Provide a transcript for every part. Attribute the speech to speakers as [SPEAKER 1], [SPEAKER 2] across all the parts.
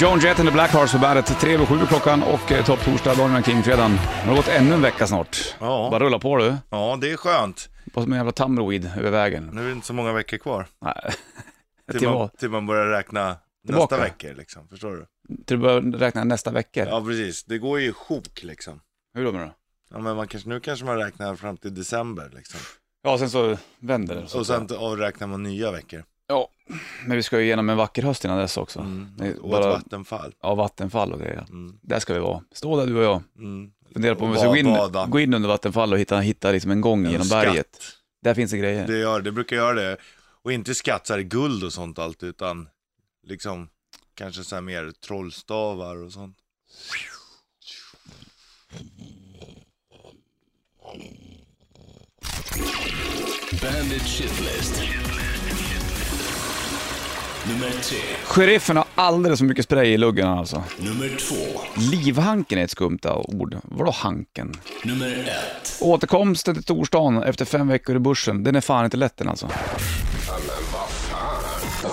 [SPEAKER 1] Joan Jett and the Blackhearts på bandet. Tre över sju klockan och eh, topp torsdag, Daniel King-fredagen. Det har gått ännu en vecka snart.
[SPEAKER 2] Ja.
[SPEAKER 1] Bara rulla på du.
[SPEAKER 2] Ja, det är skönt.
[SPEAKER 1] Vad som en jävla tamroid över vägen.
[SPEAKER 2] Nu är det inte så många veckor kvar.
[SPEAKER 1] Nej.
[SPEAKER 2] Till
[SPEAKER 1] Till
[SPEAKER 2] man,
[SPEAKER 1] vad?
[SPEAKER 2] till man börjar räkna
[SPEAKER 1] Tillbaka.
[SPEAKER 2] nästa vecka liksom. Förstår du?
[SPEAKER 1] Till du börjar räkna nästa vecka.
[SPEAKER 2] Ja, precis. Det går ju i sjok liksom.
[SPEAKER 1] Hur då menar du?
[SPEAKER 2] Ja, men man kanske, nu kanske man räknar fram till december liksom.
[SPEAKER 1] Ja, sen så vänder det. Så
[SPEAKER 2] Och
[SPEAKER 1] att
[SPEAKER 2] sen
[SPEAKER 1] säga.
[SPEAKER 2] avräknar man nya veckor.
[SPEAKER 1] Ja, men vi ska ju igenom en vacker höst innan dess också.
[SPEAKER 2] Mm.
[SPEAKER 1] Det är
[SPEAKER 2] Och ett
[SPEAKER 1] bara-
[SPEAKER 2] vattenfall.
[SPEAKER 1] Ja, vattenfall och grejer.
[SPEAKER 2] Mm.
[SPEAKER 1] Där ska vi vara. Stå där du och jag.
[SPEAKER 2] Mm.
[SPEAKER 1] Fundera på om
[SPEAKER 2] Och
[SPEAKER 1] vi ska gå in,
[SPEAKER 2] bada.
[SPEAKER 1] gå in under vattenfall och hitta, hitta liksom en gång genom
[SPEAKER 2] skatt.
[SPEAKER 1] berget. Där finns det grejer.
[SPEAKER 2] Det, gör, det brukar göra det. Och inte skatt så här guld och sånt allt, utan liksom kanske så här mer trollstavar och sånt.
[SPEAKER 3] Bandit Shitlist. Nummer tre.
[SPEAKER 1] Sheriffen har alldeles för mycket spray i luggen alltså.
[SPEAKER 3] Nummer två.
[SPEAKER 1] Livhanken är ett skumt ord. Vadå hanken?
[SPEAKER 3] Nummer ett.
[SPEAKER 1] Återkomsten till torsdagen efter fem veckor i börsen, den är fan inte lätt den alltså.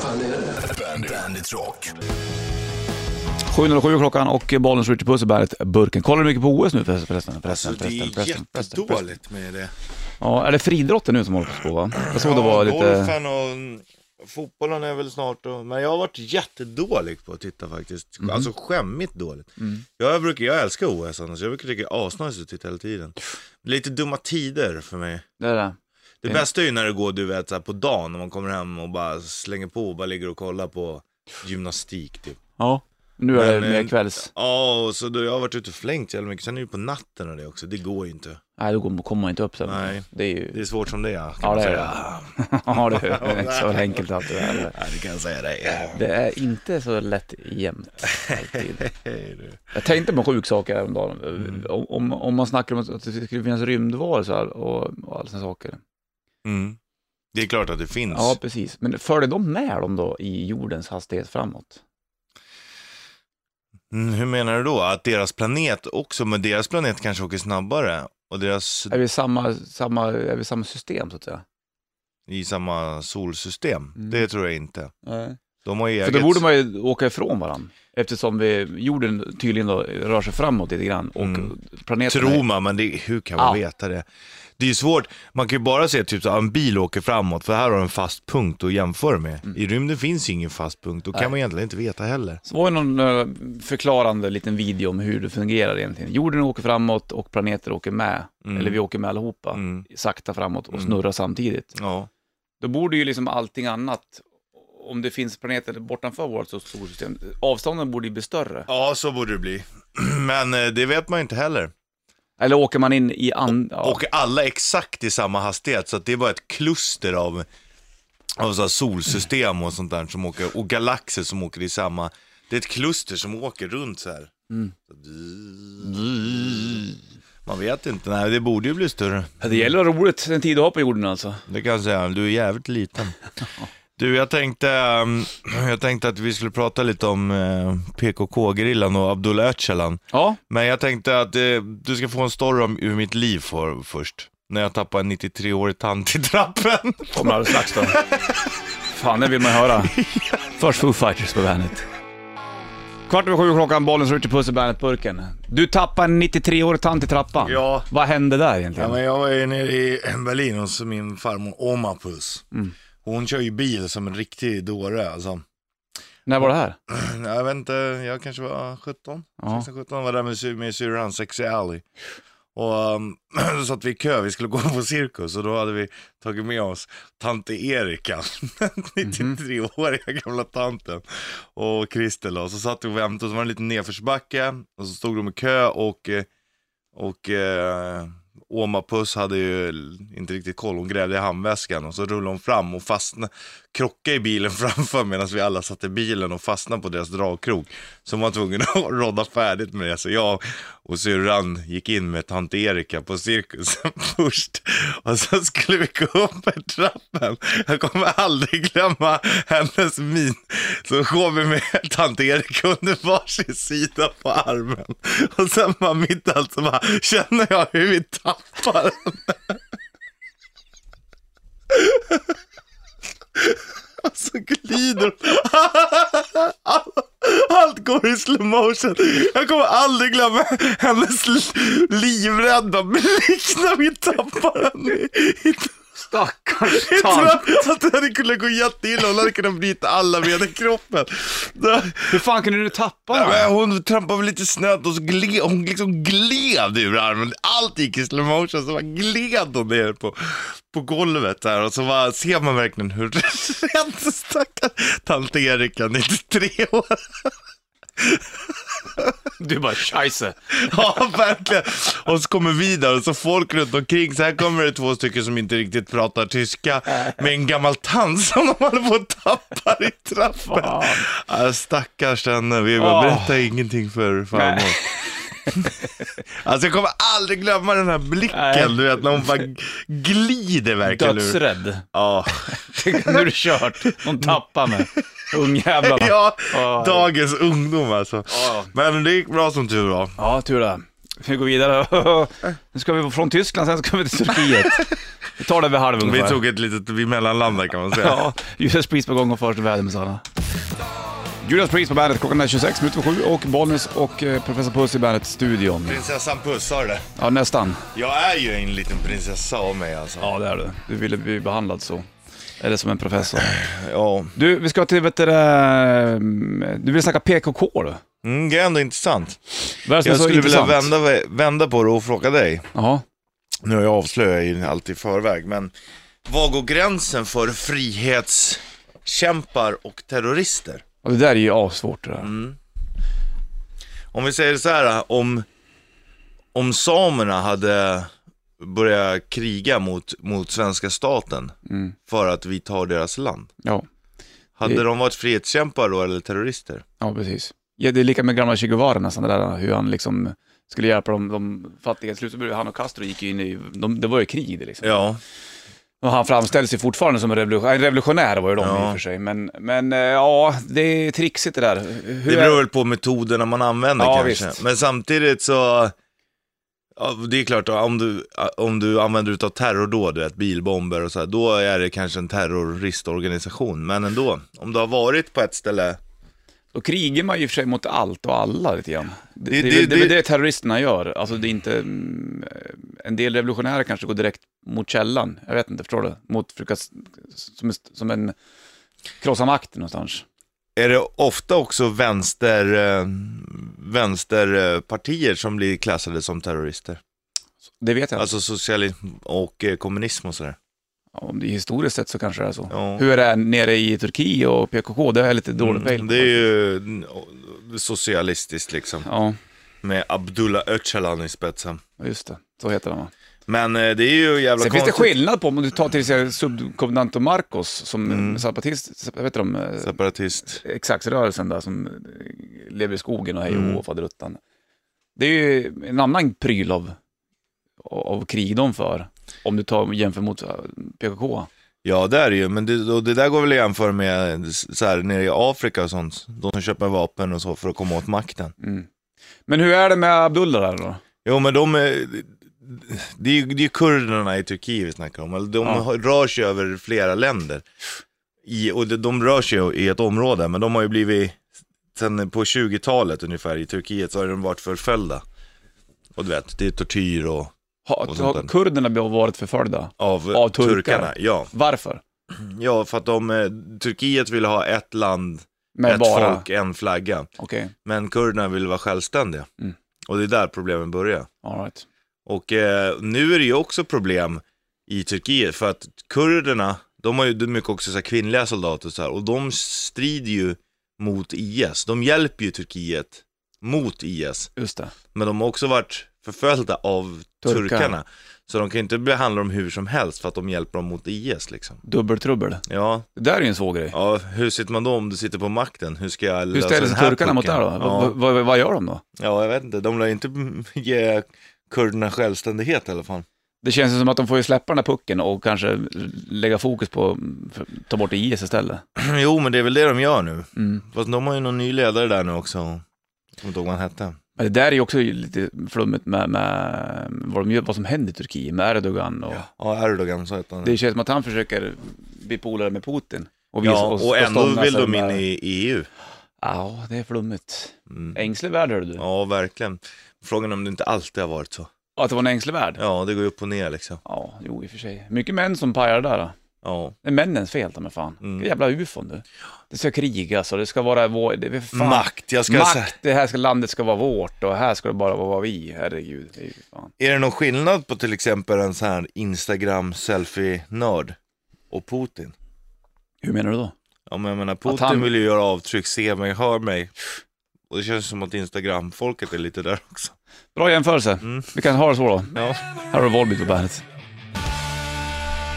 [SPEAKER 3] Bandit, Bandit Rock.
[SPEAKER 1] 7.07 klockan och bollen skjuter puss i berget, burken. Kollar du mycket på OS nu förresten? förresten,
[SPEAKER 2] Så
[SPEAKER 1] förresten,
[SPEAKER 2] Alltså, det
[SPEAKER 1] förresten,
[SPEAKER 2] är
[SPEAKER 1] förresten, förresten, förresten.
[SPEAKER 2] jättedåligt med det.
[SPEAKER 1] Ja, är det friidrotten nu som håller på va? Jag såg det var lite...
[SPEAKER 2] golfen och mm, fotbollen är väl snart och, Men jag har varit jättedålig på att titta faktiskt.
[SPEAKER 1] Mm.
[SPEAKER 2] Alltså skämmigt dåligt. Jag, brukar, jag älskar OS annars, jag brukar tycka det är asnice att titta hela tiden. Lite dumma tider för mig.
[SPEAKER 1] Det är det.
[SPEAKER 2] Det
[SPEAKER 1] Ja.
[SPEAKER 2] bästa är ju när det går du vet så här, på dagen, när man kommer hem och bara slänger på och bara ligger och kollar på gymnastik typ.
[SPEAKER 1] Ja. Nu är det
[SPEAKER 2] Men,
[SPEAKER 1] mer
[SPEAKER 2] eh,
[SPEAKER 1] kvälls...
[SPEAKER 2] Ja, och så då, jag har varit ute och flängt jävla mycket. Sen är det ju på natten och det också, det går ju inte.
[SPEAKER 1] Nej, då går- kommer man inte upp sen.
[SPEAKER 2] Nej.
[SPEAKER 1] Det är ju...
[SPEAKER 2] Det är svårt som det är. Kan
[SPEAKER 1] Ja,
[SPEAKER 2] man
[SPEAKER 1] det är
[SPEAKER 2] säga.
[SPEAKER 1] det. Ja, det är inte så enkelt allt det där.
[SPEAKER 2] Ja, det kan jag säga dig.
[SPEAKER 1] Det är inte så lätt jämt alltid.
[SPEAKER 2] Hej du.
[SPEAKER 1] Jag tänkte på en sjuk sak häromdagen.
[SPEAKER 2] Mm.
[SPEAKER 1] Om- Om, om man snackar om att det skulle finnas rymdvarelser och, och alla sådana saker.
[SPEAKER 2] Mm. Det är klart att det finns.
[SPEAKER 1] Ja, precis. Men följer de med dem då i jordens hastighet framåt?
[SPEAKER 2] Mm, hur menar du då? Att deras planet också, men deras planet kanske åker snabbare och deras
[SPEAKER 1] Är vi i samma, samma, är vi i samma system så att säga?
[SPEAKER 2] i samma solsystem?
[SPEAKER 1] Mm.
[SPEAKER 2] Det tror jag inte.
[SPEAKER 1] Nej.
[SPEAKER 2] De har ju
[SPEAKER 1] För
[SPEAKER 2] eget...
[SPEAKER 1] då borde man ju åka ifrån varandra. Eftersom vi, jorden tydligen då rör sig framåt lite grann och
[SPEAKER 2] Mm.
[SPEAKER 1] planeterna...
[SPEAKER 2] Tror man, men det, hur kan man
[SPEAKER 1] Ja.
[SPEAKER 2] veta det? Det är ju svårt, man kan ju bara se typ så att en bil åker framåt för här har du en fast punkt att jämföra med. I rymden finns ju ingen fast punkt, då kan
[SPEAKER 1] Mm. Nej.
[SPEAKER 2] man egentligen inte veta heller.
[SPEAKER 1] Så var det någon eh, förklarande liten video om hur det fungerar egentligen. Jorden åker framåt och planeter åker med, eller vi åker med allihopa,
[SPEAKER 2] Mm.
[SPEAKER 1] sakta framåt och snurrar samtidigt.
[SPEAKER 2] Ja.
[SPEAKER 1] Då borde ju liksom allting annat, om det finns planeter bortanför vårt så- solsystem, avstånden borde ju bli större.
[SPEAKER 2] ja, så borde det bli. Men eh, det vet man ju inte heller.
[SPEAKER 1] Eller åker man in i andra... Ja.
[SPEAKER 2] Och alla exakt i samma hastighet, så att det är bara ett kluster av, av så här solsystem och sånt där som åker, och galaxer som åker i samma, det är ett kluster som åker runt så här. Man vet inte, nej det borde ju bli större.
[SPEAKER 1] Det gäller att ha roligt en tid att ha på jorden alltså.
[SPEAKER 2] Det kan jag säga, du är jävligt liten. Du, jag tänkte, ehm, jag tänkte att vi skulle prata lite om eh, PKK-grillan och Abdullah Öcalan.
[SPEAKER 1] Ja,
[SPEAKER 2] Men jag tänkte att eh, du ska få en story om ur mitt liv för, först. När jag tappade en 93-årig tant i trappen.
[SPEAKER 1] kommer alldeles strax då. Fan, det vill man höra. Först Foo Fighters på bandet. Kvart över sju klockan, bollen slår ut i puss i bandet-burken. Du tappade en 93-årig tant i trappan.
[SPEAKER 2] Ja.
[SPEAKER 1] Vad hände där egentligen?
[SPEAKER 2] Ja, men jag var ju nere i Berlin hos min farmor Oma Puss. Hon kör ju bil som en riktig dåre alltså.
[SPEAKER 1] När var det här?
[SPEAKER 2] Nej, Jag vet inte, jag kanske var 17,
[SPEAKER 1] Ja.
[SPEAKER 2] 16-17, var där med, sy- med syrran, Sexy Alley. Och um, så satt vi i kö, vi skulle gå på cirkus och då hade vi tagit med oss tante Erika, 93-åriga gamla tanten och Christer då. Så satt vi och väntade och så var det en liten nedförsbacke och så stod de i kö och, eh, och eh, Oma Puss hade ju inte riktigt koll, hon grävde i handväskan och så rullade hon fram och fastnade, krockade i bilen framför medan vi alla satt i bilen och fastnade på deras dragkrok. Så hon var tvungen att rodda färdigt med det. Så jag och syrran gick in med tant Erika på cirkusen liksom först och sen skulle vi gå upp för trappen. Jag kommer aldrig glömma hennes min. Så kom vi med tant Erika under varsin sida på armen och sen var mitt i allt så bara känner jag hur vi tappar den. Och så glider hon. Allt går i slow motion. Jag kommer aldrig glömma hennes li- livrädda blick när vi tappade henne. i- i-
[SPEAKER 1] Stackars
[SPEAKER 2] Jag tror
[SPEAKER 1] tant.
[SPEAKER 2] att- att det hade kunnat gå jätteilla. Hon hade kunnat bryta alla ben i kroppen. Det-
[SPEAKER 1] Hur fan kunde du tappa
[SPEAKER 2] Ja,
[SPEAKER 1] den?
[SPEAKER 2] men hon trampade väl lite snett och så gle, hon liksom gled ur armen. Allt gick i slow motion så bara gled hon ner på, på golvet där och så bara, ser man verkligen hur rädd stackars tant Erika, 93 år.
[SPEAKER 1] Du bara scheisse.
[SPEAKER 2] Ja, verkligen. Och så kommer vi där och så folk runt omkring. Så här kommer det två stycken som inte riktigt pratar tyska med en gammal tant som de håller på att tappa i trappen. Ja, stackars henne. Vi bara,
[SPEAKER 1] Åh.
[SPEAKER 2] berätta ingenting för farmor.
[SPEAKER 1] Nej.
[SPEAKER 2] Alltså jag kommer aldrig glömma den här blicken,
[SPEAKER 1] Nej.
[SPEAKER 2] du vet, när hon bara glider verkligen ur.
[SPEAKER 1] Dödsrädd.
[SPEAKER 2] Ja.
[SPEAKER 1] Tänk om Nu är det kört. Någon tappar mig. Ungjävlarna.
[SPEAKER 2] ja,
[SPEAKER 1] Ja.
[SPEAKER 2] dagens ungdom alltså.
[SPEAKER 1] Ja.
[SPEAKER 2] Men det gick bra som tur var.
[SPEAKER 1] Ja, tur det. Vi går vidare. Nu ska vi från Tyskland, sen ska vi till Turkiet. Vi tar det vid halv
[SPEAKER 2] Vi
[SPEAKER 1] ungefär.
[SPEAKER 2] tog ett litet, vi mellanlandade kan man säga.
[SPEAKER 1] Ja, Judas Priest på gång och först väder med Sanna. Judas Priest på bandet, klockan är 26 minuter på sju och Bollnäs och eh, Professor Puss i bandet-studion.
[SPEAKER 2] Prinsessan Puss, har du det?
[SPEAKER 1] Ja, nästan.
[SPEAKER 2] Jag är ju en liten prinsessa av mig alltså.
[SPEAKER 1] Ja, det är du. Du ville bli behandlad så. Eller som en professor.
[SPEAKER 2] Ja.
[SPEAKER 1] Du, vi ska till, vet du, det, mm, du vill snacka PKK du.
[SPEAKER 2] Mm, det är ändå intressant.
[SPEAKER 1] Världens
[SPEAKER 2] Jag
[SPEAKER 1] så
[SPEAKER 2] skulle vilja
[SPEAKER 1] intressant.
[SPEAKER 2] vända, vända på det och fråga dig.
[SPEAKER 1] Jaha.
[SPEAKER 2] Nu har jag avslöjat ju allt i förväg, men var går gränsen för frihetskämpar och terrorister?
[SPEAKER 1] Och det där är ju assvårt det där.
[SPEAKER 2] Om vi säger så här, om, om samerna hade börjat kriga mot, mot svenska staten för att vi tar deras land.
[SPEAKER 1] Mm. Ja.
[SPEAKER 2] Hade
[SPEAKER 1] Det-
[SPEAKER 2] de varit frihetskämpar då eller terrorister?
[SPEAKER 1] ja, precis. Ja, det är lika med gamla Che Guevara nästan, det där hur han liksom skulle hjälpa de, de fattiga. Till slut så blev han och Castro gick ju in i, de, det var ju krig i det liksom.
[SPEAKER 2] Ja, och
[SPEAKER 1] Och han framställs ju fortfarande som en revolutionär, en revolutionär var ju de
[SPEAKER 2] Ja.
[SPEAKER 1] i och för sig. Men, men eh, ja, det är trixigt det där. Hur
[SPEAKER 2] det beror
[SPEAKER 1] är...
[SPEAKER 2] väl på metoderna man använder
[SPEAKER 1] Ja,
[SPEAKER 2] kanske.
[SPEAKER 1] visst.
[SPEAKER 2] Men samtidigt så, ja, det är klart om du, om du använder utav terrordåd, du vet, bilbomber och så här, då är det kanske en terroristorganisation. Men ändå, om du har varit på ett ställe,
[SPEAKER 1] Då krigar man ju i och för sig mot allt och alla lite grann. Det, det,
[SPEAKER 2] Det-
[SPEAKER 1] det, det,
[SPEAKER 2] det-
[SPEAKER 1] är väl det terroristerna gör. Alltså det är inte... mm, En del revolutionärer kanske går direkt mot källan. Jag vet inte, förstår du? Mot, försöka, s- som, som en... Krossa makten någonstans.
[SPEAKER 2] är det ofta också vänster, eh, vänsterpartier som blir klassade som terrorister.
[SPEAKER 1] Det vet jag.
[SPEAKER 2] Alltså socialism och eh, kommunism och sådär.
[SPEAKER 1] Ja, Om det är historiskt sett så kanske det är så.
[SPEAKER 2] Alltså- Ja. Mm,
[SPEAKER 1] Hur är det nere i Turkiet och PKK? Det har jag lite dålig pejl på.
[SPEAKER 2] Det är ju eh, socialistiskt liksom,
[SPEAKER 1] Ja,
[SPEAKER 2] med Abdullah Öcalan i spetsen.
[SPEAKER 1] just det. Så heter den va?
[SPEAKER 2] Men eh, det är ju jävla
[SPEAKER 1] Sen finns det
[SPEAKER 2] konstigt.
[SPEAKER 1] skillnad på om du tar till exempel subkommendant Marcos som mm. separatist, vad heter de, eh,
[SPEAKER 2] Separatist.
[SPEAKER 1] exaktsrörelsen där som eh, lever i skogen och hej
[SPEAKER 2] Mm.
[SPEAKER 1] och hå och faderuttan. Det är ju en annan pryl av, av krig de för, om du tar jämför mot eh, PKK.
[SPEAKER 2] Ja, det är det ju. Men det, och det där går väl att jämföra med så här, nere i Afrika och sånt. De som köper vapen och så för att komma åt makten.
[SPEAKER 1] Mm. Men hur är det med Abdullah där då?
[SPEAKER 2] Jo, men de är... Det är ju det är ju kurderna i Turkiet vi snackar om. Eller De
[SPEAKER 1] Ja.
[SPEAKER 2] har- rör sig över flera länder. I, och de, de rör sig ju i ett område, men de har ju blivit... Sen på 20-talet ungefär i Turkiet så har de varit förföljda. Och du vet, det är tortyr och...
[SPEAKER 1] Har,
[SPEAKER 2] Och sånt
[SPEAKER 1] har
[SPEAKER 2] där.
[SPEAKER 1] kurderna varit förföljda?
[SPEAKER 2] Av,
[SPEAKER 1] Av turkar.
[SPEAKER 2] turkarna. Ja.
[SPEAKER 1] Varför?
[SPEAKER 2] ja, för att de... eh, Turkiet vill ha ett land
[SPEAKER 1] Med
[SPEAKER 2] ett
[SPEAKER 1] bara...
[SPEAKER 2] folk, en flagga.
[SPEAKER 1] Okej,
[SPEAKER 2] Men kurderna vill vara självständiga.
[SPEAKER 1] Mm.
[SPEAKER 2] Och det är där problemen börjar.
[SPEAKER 1] all right.
[SPEAKER 2] Och eh, nu är det ju också problem i Turkiet för att kurderna, de har ju mycket också så här, kvinnliga soldater och så här, och de strider ju mot IS. De hjälper ju Turkiet mot IS,
[SPEAKER 1] Just det.
[SPEAKER 2] men de har också varit förföljda av
[SPEAKER 1] Turkar.
[SPEAKER 2] turkarna. Så de kan ju inte behandla dem hur som helst för att de hjälper dem mot IS liksom.
[SPEAKER 1] Dubbeltrubbel.
[SPEAKER 2] Ja,
[SPEAKER 1] Det där är ju en svår grej.
[SPEAKER 2] ja hur sitter man då om du sitter på makten? Hur ska jag
[SPEAKER 1] Hur
[SPEAKER 2] lösa
[SPEAKER 1] ställer
[SPEAKER 2] den
[SPEAKER 1] sig
[SPEAKER 2] här
[SPEAKER 1] turkarna mot det här
[SPEAKER 2] pucken?
[SPEAKER 1] då?
[SPEAKER 2] Ja.
[SPEAKER 1] Vad- vad- vad gör de då?
[SPEAKER 2] Ja, jag vet inte. De lär ju inte ge kurderna självständighet i alla fall.
[SPEAKER 1] Det känns ju som att de får ju släppa den här pucken och kanske lägga fokus på för, ta bort IS istället.
[SPEAKER 2] jo, men det är väl det de gör nu.
[SPEAKER 1] Mm.
[SPEAKER 2] Fast de har ju någon ny ledare där nu också. Jag kommer inte ihåg vad han hette.
[SPEAKER 1] Men det där är ju också lite flummigt med, med vad, de gör, vad som händer i Turkiet med Erdogan. Och,
[SPEAKER 2] Ja, Erdogan, så hette han.
[SPEAKER 1] Det känns som att han försöker bli polare med Putin. Och
[SPEAKER 2] ja, och ändå
[SPEAKER 1] stånga
[SPEAKER 2] vill
[SPEAKER 1] sig
[SPEAKER 2] de in
[SPEAKER 1] med-
[SPEAKER 2] i E EU.
[SPEAKER 1] Ja, det är flummigt. Ängslig värld hörde du.
[SPEAKER 2] Mm. Ja, verkligen. Frågan är om det inte alltid har varit så.
[SPEAKER 1] Att det var en ängslig värld? Ja.
[SPEAKER 2] Ja, det går ju upp och ner liksom.
[SPEAKER 1] jo i och för sig. Mycket män som pajar det där. Då.
[SPEAKER 2] Ja.
[SPEAKER 1] Det är männens fel, ta mig fan.
[SPEAKER 2] Mm.
[SPEAKER 1] Det är jävla ufon du. Det ska krigas och det ska vara vår... Det är fan.
[SPEAKER 2] Makt, jag ska säga.
[SPEAKER 1] Makt, det här ska, landet ska vara vårt och här ska det bara vara vi. Herregud, det är ju fan.
[SPEAKER 2] Är det någon skillnad på till exempel en sån här Instagram-selfie-nörd och Putin?
[SPEAKER 1] Hur menar du då?
[SPEAKER 2] Ja, men jag menar, Putin
[SPEAKER 1] han-
[SPEAKER 2] vill ju göra avtryck, se mig, hör mig. Och det känns som att Instagram-folket är lite där också.
[SPEAKER 1] Bra jämförelse. Vi kan ha det så då.
[SPEAKER 2] Ja.
[SPEAKER 1] Här har du Volbeat på bandet.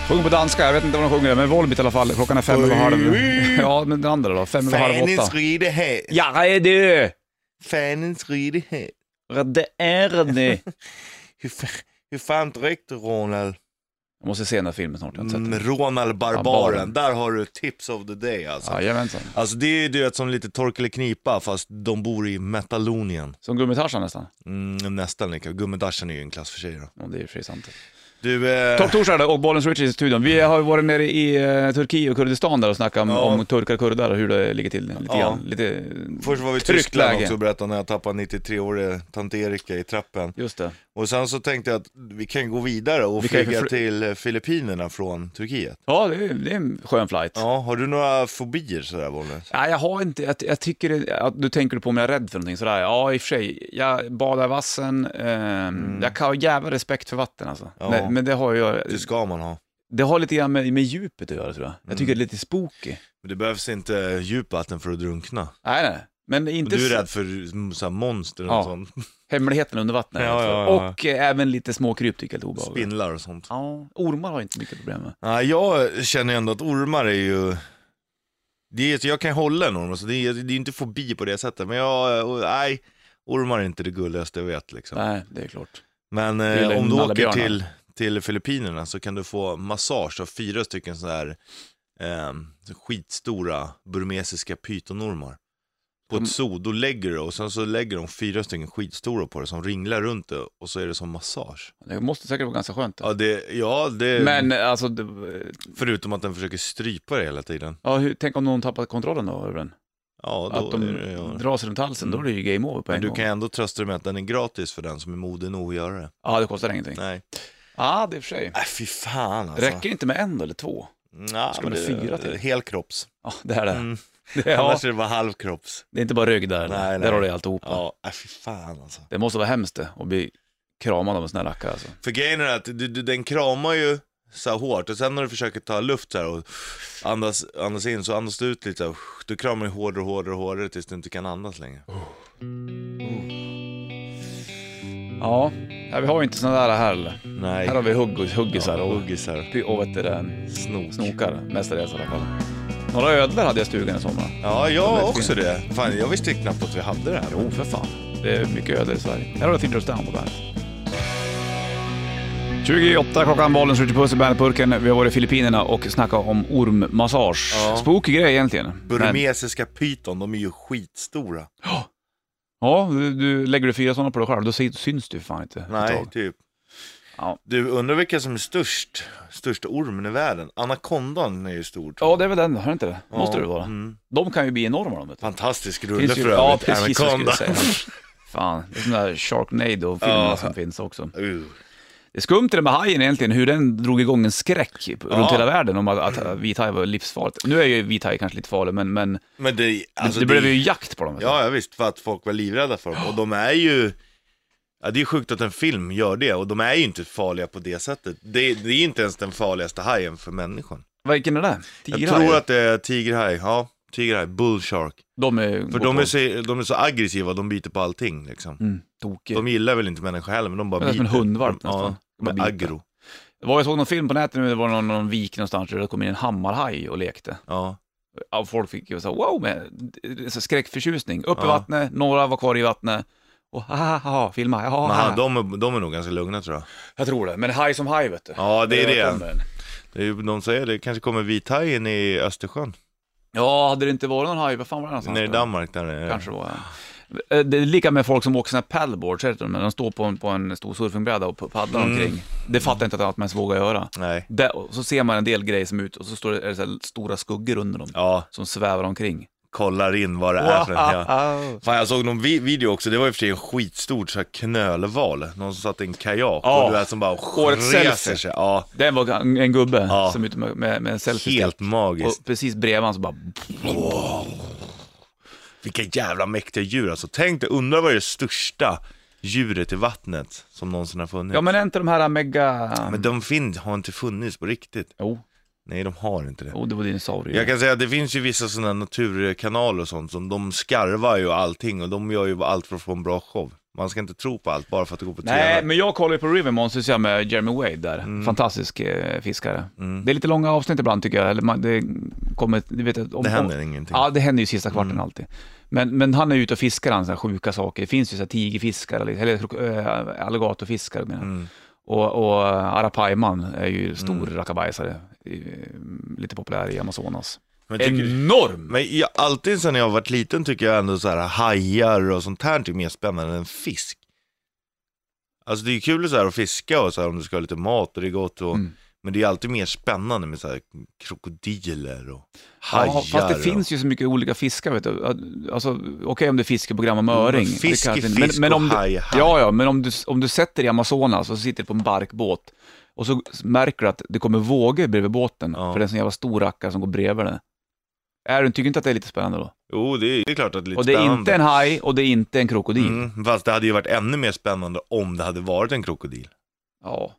[SPEAKER 1] Sjunger på danska, jag vet inte vad de sjunger, men Volbeat i alla fall. Klockan är fem över halv... Ja, men den andra då? Fem över halv åtta.
[SPEAKER 2] Fanens ride här,
[SPEAKER 1] Ja, är det!
[SPEAKER 2] fanens ride här.
[SPEAKER 1] Det är det!
[SPEAKER 2] Hur, fa- hur fan dricker du Ronald?
[SPEAKER 1] Jag måste se den här filmen snart, jag har inte sett
[SPEAKER 2] Mm,
[SPEAKER 1] den.
[SPEAKER 2] Ronald Barbaren.
[SPEAKER 1] Barbaren.
[SPEAKER 2] där har du tips of the day alltså.
[SPEAKER 1] Jajamensan.
[SPEAKER 2] Alltså det är ju du vet som lite tork eller knipa fast de bor i Metalonien.
[SPEAKER 1] Som Gummi-Tarzan nästan.
[SPEAKER 2] Mm, nästan lika, Gummidaschen är ju en klass för sig då.
[SPEAKER 1] Ja, det är ju för sig sant.
[SPEAKER 2] Du, eh,
[SPEAKER 1] Topp torsdag är det och Bollens Richie i studion. Vi har ju varit nere i eh, Turkiet och Kurdistan där och snackat om,
[SPEAKER 2] Ja.
[SPEAKER 1] om turkar och kurder och hur det ligger till lite
[SPEAKER 2] Ja.
[SPEAKER 1] grann. Lite
[SPEAKER 2] först var vi i
[SPEAKER 1] tryckt
[SPEAKER 2] Tyskland
[SPEAKER 1] läge.
[SPEAKER 2] också och berättade när jag tappade 93-åriga tant Erika i trappen.
[SPEAKER 1] Just det.
[SPEAKER 2] Och sen så tänkte jag att vi kan gå vidare och
[SPEAKER 1] Vi kan ju
[SPEAKER 2] flyga
[SPEAKER 1] förfly-
[SPEAKER 2] till eh, Filippinerna från Turkiet.
[SPEAKER 1] Ja, det är, det är en skön flight.
[SPEAKER 2] Ja, har du några fobier sådär Bollnäs?
[SPEAKER 1] Nej, jag har inte, jag, jag tycker, det- att du tänker på om jag är rädd för någonting sådär. Ja, i och för sig, jag badar i vassen, ehm, jag kan ha jävla respekt för vatten alltså.
[SPEAKER 2] Mm. Ja.
[SPEAKER 1] Nej, men det har jag,
[SPEAKER 2] Det ska man ha.
[SPEAKER 1] det har lite grann med, med djupet att göra tror jag. Jag
[SPEAKER 2] Mm.
[SPEAKER 1] tycker det är lite spooky.
[SPEAKER 2] Men det behövs inte djupvatten för att drunkna.
[SPEAKER 1] Nej, nej. Men
[SPEAKER 2] Och
[SPEAKER 1] inte
[SPEAKER 2] du är
[SPEAKER 1] så-
[SPEAKER 2] rädd för så här monster och
[SPEAKER 1] Ja.
[SPEAKER 2] sånt,
[SPEAKER 1] hemligheten under vattnet.
[SPEAKER 2] Ja,
[SPEAKER 1] alltså.
[SPEAKER 2] ja, ja.
[SPEAKER 1] Och eh, även lite små kryp tycker jag är lite obehagligt.
[SPEAKER 2] spindlar och sånt.
[SPEAKER 1] Ja, ormar har jag inte mycket problem med.
[SPEAKER 2] Ja, jag känner ändå att ormar är ju... Det är, jag kan hålla en orm, så det är, det är ju inte fobi på det sättet. Men jag, och- nej, ormar är inte det gulligaste jag vet. Liksom.
[SPEAKER 1] Nej, det är klart.
[SPEAKER 2] Men
[SPEAKER 1] Lilla
[SPEAKER 2] eh, om du åker
[SPEAKER 1] nallebjörnar.
[SPEAKER 2] till, till Filippinerna så kan du få massage av fyra stycken sådana här eh, skitstora burmesiska pytonormar. På
[SPEAKER 1] De-
[SPEAKER 2] ett zoo, då lägger du och sen så lägger de fyra stycken skitstora på det som ringlar runt det och så är det som massage.
[SPEAKER 1] Det måste säkert vara ganska skönt. då.
[SPEAKER 2] Ja, det, ja, det
[SPEAKER 1] Men eh, alltså, det-
[SPEAKER 2] förutom att den försöker strypa det hela tiden.
[SPEAKER 1] ja, hur, tänk om någon tappat kontrollen då över den?
[SPEAKER 2] Ja, då
[SPEAKER 1] Att de
[SPEAKER 2] är det, ja. Mm.
[SPEAKER 1] drar sig runt halsen, då är det ju game over på en
[SPEAKER 2] Men du
[SPEAKER 1] gång.
[SPEAKER 2] kan ändå trösta dig med att den är gratis för den som är modig nog att göra det.
[SPEAKER 1] Ja, det kostar ingenting. Ja,
[SPEAKER 2] Nej.
[SPEAKER 1] det är för sig.
[SPEAKER 2] Äh, fy fan alltså.
[SPEAKER 1] Räcker det inte med en eller två?
[SPEAKER 2] Nja,
[SPEAKER 1] Ska
[SPEAKER 2] men
[SPEAKER 1] man
[SPEAKER 2] det-
[SPEAKER 1] fyra till?
[SPEAKER 2] Helkropps.
[SPEAKER 1] Ja, det är det.
[SPEAKER 2] Mm.
[SPEAKER 1] Det, är- ja,
[SPEAKER 2] Annars är det bara halvkropps.
[SPEAKER 1] det är inte bara rygg där, eller?
[SPEAKER 2] Nej, nej.
[SPEAKER 1] där har du ju alltihopa.
[SPEAKER 2] Ja, äh, fy fan alltså.
[SPEAKER 1] Det måste vara hemskt det, att bli kramad av en sån här rackare alltså.
[SPEAKER 2] För grejen är att du, du, den kramar ju så här hårt och sen när du försöker ta luft så här och andas, andas in så andas du ut lite så här, Du kramar ju hårdare och hårdare och hårdare tills du inte kan andas längre.
[SPEAKER 1] Ja, här, vi har ju inte såna där här eller?
[SPEAKER 2] Nej.
[SPEAKER 1] Här har vi hugg, huggisar
[SPEAKER 2] ja,
[SPEAKER 1] och,
[SPEAKER 2] huggisar.
[SPEAKER 1] och vet du, det,
[SPEAKER 2] Snok.
[SPEAKER 1] snokar, mestadels i alla fall. Några ödlor hade jag i stugan i somras.
[SPEAKER 2] Ja,
[SPEAKER 1] De är
[SPEAKER 2] jag också det. Fan, jag visste knappt att vi hade det här.
[SPEAKER 1] Jo, för fan. Det är mycket öde i Sverige. Här har du Thinders Down på bandet. 28 klockan, bollen skjuter puss i bandetburken. Vi har varit i Filippinerna och snackat om ormmassage.
[SPEAKER 2] Ja.
[SPEAKER 1] Spooky grej egentligen. Men-
[SPEAKER 2] Burmesiska pyton, de är ju skitstora.
[SPEAKER 1] Ja, du, du, lägger du fyra sådana på dig själv, då sy- syns du fan inte. ett
[SPEAKER 2] Nej,
[SPEAKER 1] tag.
[SPEAKER 2] typ.
[SPEAKER 1] Ja.
[SPEAKER 2] Du undrar vilka som är störst, största ormen i världen? Anakondan är ju stor.
[SPEAKER 1] Ja, det är väl den, har det inte det? Måste det
[SPEAKER 2] Ja,
[SPEAKER 1] vara.
[SPEAKER 2] mm.
[SPEAKER 1] De kan ju bli enorma de. Vet du.
[SPEAKER 2] Fantastisk rulle
[SPEAKER 1] Finns
[SPEAKER 2] för
[SPEAKER 1] ju, ja,
[SPEAKER 2] övrigt,
[SPEAKER 1] precis vad jag skulle
[SPEAKER 2] Anaconda.
[SPEAKER 1] säga. Fan, det är sådana där Sharknado-filmer
[SPEAKER 2] Ja.
[SPEAKER 1] som finns också.
[SPEAKER 2] Uh.
[SPEAKER 1] Det är skumt det där med hajen egentligen, hur den drog igång en skräck på-
[SPEAKER 2] Ja.
[SPEAKER 1] runt hela världen om att, att vit haj var livsfarligt. Nu är ju vit haj kanske lite farlig, men, men
[SPEAKER 2] Men det, alltså
[SPEAKER 1] det, blev ju jakt på dem. vet du.
[SPEAKER 2] Ja, ja, visst, för att folk var livrädda för dem. Och de är ju... Ja, det är sjukt att en film gör det, och de är ju inte farliga på det sättet. Det, det är inte ens den farligaste hajen för människan.
[SPEAKER 1] Vilken är det?
[SPEAKER 2] Jag
[SPEAKER 1] Tigerhajar?
[SPEAKER 2] tror att det är tigerhaj, ja. Tigerhaj, bullshark.
[SPEAKER 1] de är...
[SPEAKER 2] För de är, så, de är så aggressiva, de biter på allting liksom.
[SPEAKER 1] Mm, tokiga.
[SPEAKER 2] De gillar väl inte människor heller, men de bara
[SPEAKER 1] Det är som en hundvalp nästan.
[SPEAKER 2] Ja, de
[SPEAKER 1] Bara
[SPEAKER 2] är
[SPEAKER 1] biter.
[SPEAKER 2] aggro.
[SPEAKER 1] Det var, jag såg någon film på nätet nu, det var någon, någon vik någonstans där det kom in en hammarhaj och lekte.
[SPEAKER 2] Ja.
[SPEAKER 1] Ja, folk fick ju så här, wow, men, så skräckförtjusning. Upp i
[SPEAKER 2] Ja.
[SPEAKER 1] vattnet, några var kvar i vattnet. Och ha, ha, ha, ha, filma, ha, ha,
[SPEAKER 2] Men
[SPEAKER 1] ha.
[SPEAKER 2] de, är, de är nog ganska lugna tror jag.
[SPEAKER 1] Jag tror det, men haj som haj vet du.
[SPEAKER 2] Ja, det är
[SPEAKER 1] Där
[SPEAKER 2] det.
[SPEAKER 1] kommer den.
[SPEAKER 2] det är, ju- de säger det kanske kommer vithajen i Östersjön.
[SPEAKER 1] Ja, hade det inte varit någon haj, vad fan var det någonstans?
[SPEAKER 2] Nere i
[SPEAKER 1] då?
[SPEAKER 2] Danmark där nere.
[SPEAKER 1] Kanske det var, ja. Eh, Det är lika med folk som åker såna här paddleboards, heter de, när de står på en, på en stor surfingbräda och p- paddlar
[SPEAKER 2] Mm.
[SPEAKER 1] omkring. Det fattar inte att man ens vågar göra.
[SPEAKER 2] Nej.
[SPEAKER 1] Där, och så ser man en del grejer som ut och så står det är det så här stora skuggor under dem
[SPEAKER 2] Ja,
[SPEAKER 1] som svävar omkring.
[SPEAKER 2] kollar in vad det är för en. Ja. Fan, jag såg någon vi- video också, det var i och för sig en skitstort så här knölval. Någon som satt i en kajak
[SPEAKER 1] Ja.
[SPEAKER 2] och du är som bara
[SPEAKER 1] Årets selfie.
[SPEAKER 2] reser sig. Ja,
[SPEAKER 1] Den var en en gubbe
[SPEAKER 2] Ja.
[SPEAKER 1] som ute med, med, med en selfie
[SPEAKER 2] helt magiskt.
[SPEAKER 1] Och precis bredvid han så bara...
[SPEAKER 2] Vilka jävla mäktiga djur alltså. Tänk dig, undrar vad det är det största djuret i vattnet som någonsin har funnits.
[SPEAKER 1] Ja men är inte de här mega...
[SPEAKER 2] Men de fin- har inte funnits på riktigt.
[SPEAKER 1] Jo,
[SPEAKER 2] Nej, de har inte det.
[SPEAKER 1] oh, det var dinosaurier.
[SPEAKER 2] Jag kan säga att det finns ju vissa sådana naturkanaler och sånt som de skarvar ju allting och de gör ju allt för att få en bra show. Man ska inte tro på allt bara för att det går på
[SPEAKER 1] Nej,
[SPEAKER 2] TV.
[SPEAKER 1] men jag kollar ju på River Monsters ja, med Jeremy Wade där.
[SPEAKER 2] Mm.
[SPEAKER 1] Fantastisk eh, fiskare. Det är lite långa avsnitt ibland tycker jag. Eller man, det, kommer, du vet, om,
[SPEAKER 2] Det
[SPEAKER 1] om,
[SPEAKER 2] händer ingenting. Mm.
[SPEAKER 1] Ja, det händer ju sista kvarten alltid. Men, men han är ute och fiskar han, så här sjuka saker. Det finns ju så här tigerfiskar, eller- eller krok- äh, alligatorfiskar. menar jag.
[SPEAKER 2] Mm.
[SPEAKER 1] Och, och eh, Arapaiman är ju stor rackabajsare, eh, lite populär i Amazonas.
[SPEAKER 2] Men tycker-
[SPEAKER 1] Enorm!
[SPEAKER 2] Men jag, alltid sedan jag varit liten tycker jag ändå så här hajar och sånt här är mer spännande än fisk. Alltså det är ju kul så här att fiska och så här om du ska ha lite mat och det är gott och,
[SPEAKER 1] Mm.
[SPEAKER 2] men det är alltid mer spännande med så här krokodiler och hajar.
[SPEAKER 1] Ja, fast det
[SPEAKER 2] och-
[SPEAKER 1] finns ju så mycket olika fiskar. Vet du. Alltså, Okej om det är fiskeprogram om öring.
[SPEAKER 2] fisk
[SPEAKER 1] det
[SPEAKER 2] är
[SPEAKER 1] kanske inte-
[SPEAKER 2] fisk och
[SPEAKER 1] om du,
[SPEAKER 2] haj är haj.
[SPEAKER 1] Ja, ja, men om du, om du sätter i Amazonas och så sitter du på en barkbåt och så märker du att det kommer vågor bredvid båten
[SPEAKER 2] Ja.
[SPEAKER 1] för det är en sån jävla stor rackare som går bredvid den. Är du, tycker du inte att det är lite spännande då?
[SPEAKER 2] Jo, det är, det är klart att det är lite
[SPEAKER 1] och det är
[SPEAKER 2] spännande.
[SPEAKER 1] inte en haj och det är inte en krokodil.
[SPEAKER 2] Mm, fast det hade ju varit ännu mer spännande om det hade varit en krokodil.
[SPEAKER 1] Ja.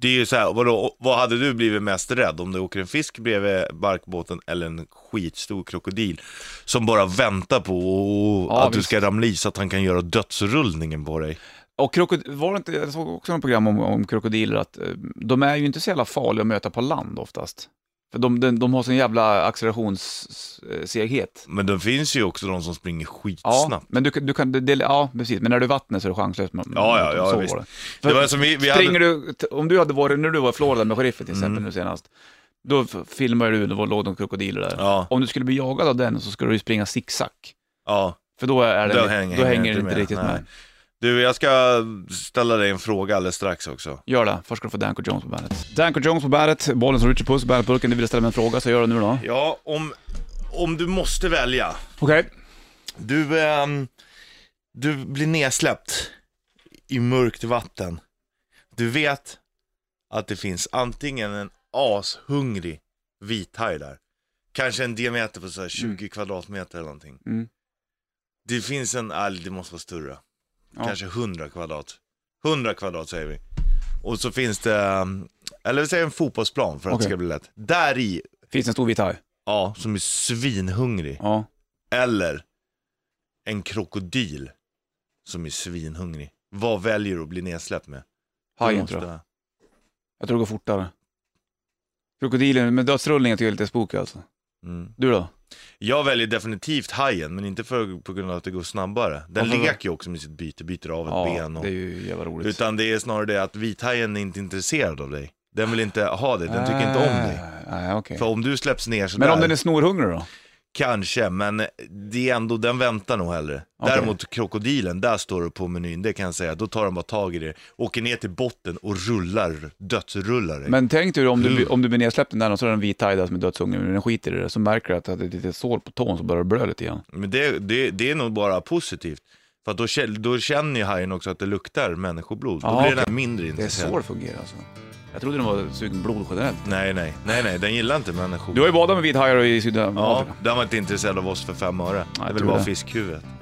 [SPEAKER 2] Det är ju så här, vadå, vad hade du blivit mest rädd? Om det åker en fisk bredvid barkbåten eller en skitstor krokodil som bara väntar på
[SPEAKER 1] Ja,
[SPEAKER 2] att du
[SPEAKER 1] visst.
[SPEAKER 2] ska ramla i så att han kan göra dödsrullningen på dig?
[SPEAKER 1] Och krokodil, var det inte, jag såg också något program om, om krokodiler, att eh, de är ju inte så jävla farliga att möta på land oftast. För de, de, de har sån jävla eh, accelerationsseghet.
[SPEAKER 2] Men det finns ju också de som springer
[SPEAKER 1] Ja,
[SPEAKER 2] skitsnabbt.
[SPEAKER 1] men du, kan- du kan, det, det, ja precis, men när du är i vattnet så är det chanslöst. Man,
[SPEAKER 2] Ja, ja, ja,
[SPEAKER 1] så
[SPEAKER 2] visst.
[SPEAKER 1] var det. För,
[SPEAKER 2] Det var som vi, vi
[SPEAKER 1] springer
[SPEAKER 2] hade... Mm.
[SPEAKER 1] du, t- om du hade varit, när du var i Florida med sheriffen till exempel nu senast, då f- filmade du, då låg de krokodiler där.
[SPEAKER 2] Ja,
[SPEAKER 1] Om du skulle bli jagad av den så skulle du ju springa zigzag.
[SPEAKER 2] ja.
[SPEAKER 1] För då är det,
[SPEAKER 2] Då
[SPEAKER 1] då
[SPEAKER 2] hänger-
[SPEAKER 1] hänger, då hänger
[SPEAKER 2] hänger
[SPEAKER 1] det
[SPEAKER 2] inte
[SPEAKER 1] inte
[SPEAKER 2] med.
[SPEAKER 1] riktigt
[SPEAKER 2] Nej.
[SPEAKER 1] med.
[SPEAKER 2] Du, jag ska ställa dig en fråga alldeles strax också.
[SPEAKER 1] Gör det. Först ska du få Danko Jones på bandet. Danko Jones på bandet, bollen som Richard Puss i bandetburken. Du ville ställa mig en fråga, så gör det nu då.
[SPEAKER 2] Ja, om, om du måste välja.
[SPEAKER 1] Okej.
[SPEAKER 2] Du, ehm, du blir nedsläppt i mörkt vatten. Du vet att det finns antingen en ashungrig vithaj där. Kanske en diameter på så här 20 kvadratmeter eller någonting.
[SPEAKER 1] Mm.
[SPEAKER 2] Det finns en, nej det måste vara större.
[SPEAKER 1] Ja.
[SPEAKER 2] Kanske 100 kvadrat. 100 kvadrat säger vi. Och så finns det, ehm, eller vi säger en fotbollsplan för att
[SPEAKER 1] Okej.
[SPEAKER 2] det ska bli lätt. Där i,
[SPEAKER 1] Finns det en stor vit haj?
[SPEAKER 2] ja, som är svinhungrig.
[SPEAKER 1] Ja.
[SPEAKER 2] Eller en krokodil som är svinhungrig. Vad väljer du att bli nedsläppt med? Du
[SPEAKER 1] Hajen
[SPEAKER 2] måste-
[SPEAKER 1] tror jag. Jag tror det går fortare. Krokodilen, men dödsrullningen tycker jag är lite spooky alltså.
[SPEAKER 2] Mm.
[SPEAKER 1] Du då?
[SPEAKER 2] Jag väljer definitivt hajen, men inte för, på grund av att det går snabbare. Den
[SPEAKER 1] Varför då?
[SPEAKER 2] leker ju också med sitt byte, byter av ett ben. Och,
[SPEAKER 1] det är ju jävla roligt.
[SPEAKER 2] utan det är snarare det att vithajen är inte intresserad av dig. Den vill inte ha dig, den tycker inte om dig.
[SPEAKER 1] Ah, Nej, okej.
[SPEAKER 2] För om du släpps ner sådär,
[SPEAKER 1] Men om den är snorhungrig då?
[SPEAKER 2] kanske, men det är ändå, den väntar nog hellre.
[SPEAKER 1] Okej.
[SPEAKER 2] Däremot krokodilen, där står det på menyn, det kan jag säga, då tar den bara tag i det, åker ner till botten och rullar, dödsrullar dig.
[SPEAKER 1] Men tänk dig om du,
[SPEAKER 2] Mm.
[SPEAKER 1] blir- om du blir nedsläppt i den där och så är det en vit haj där som är dödshungrig, men den skiter i det. Så märker du att det är ett litet sår på tån så börjar det blöda lite grann.
[SPEAKER 2] Men det, det, det är nog bara positivt. För att då, kä- då känner ju hajen också att det luktar människoblod. Då
[SPEAKER 1] Ja,
[SPEAKER 2] blir
[SPEAKER 1] okej.
[SPEAKER 2] den mindre
[SPEAKER 1] Det är
[SPEAKER 2] intresserad.
[SPEAKER 1] så det fungerar alltså. Jag trodde den var sugen på blod generellt.
[SPEAKER 2] Nej, nej, nej, nej, den gillar inte människor.
[SPEAKER 1] Du har ju badat med vithajar i Sydafrika.
[SPEAKER 2] Ja, den var inte intresserad av oss för fem öre.
[SPEAKER 1] jag
[SPEAKER 2] det är väl
[SPEAKER 1] tror
[SPEAKER 2] bara
[SPEAKER 1] det.
[SPEAKER 2] fiskhuvudet.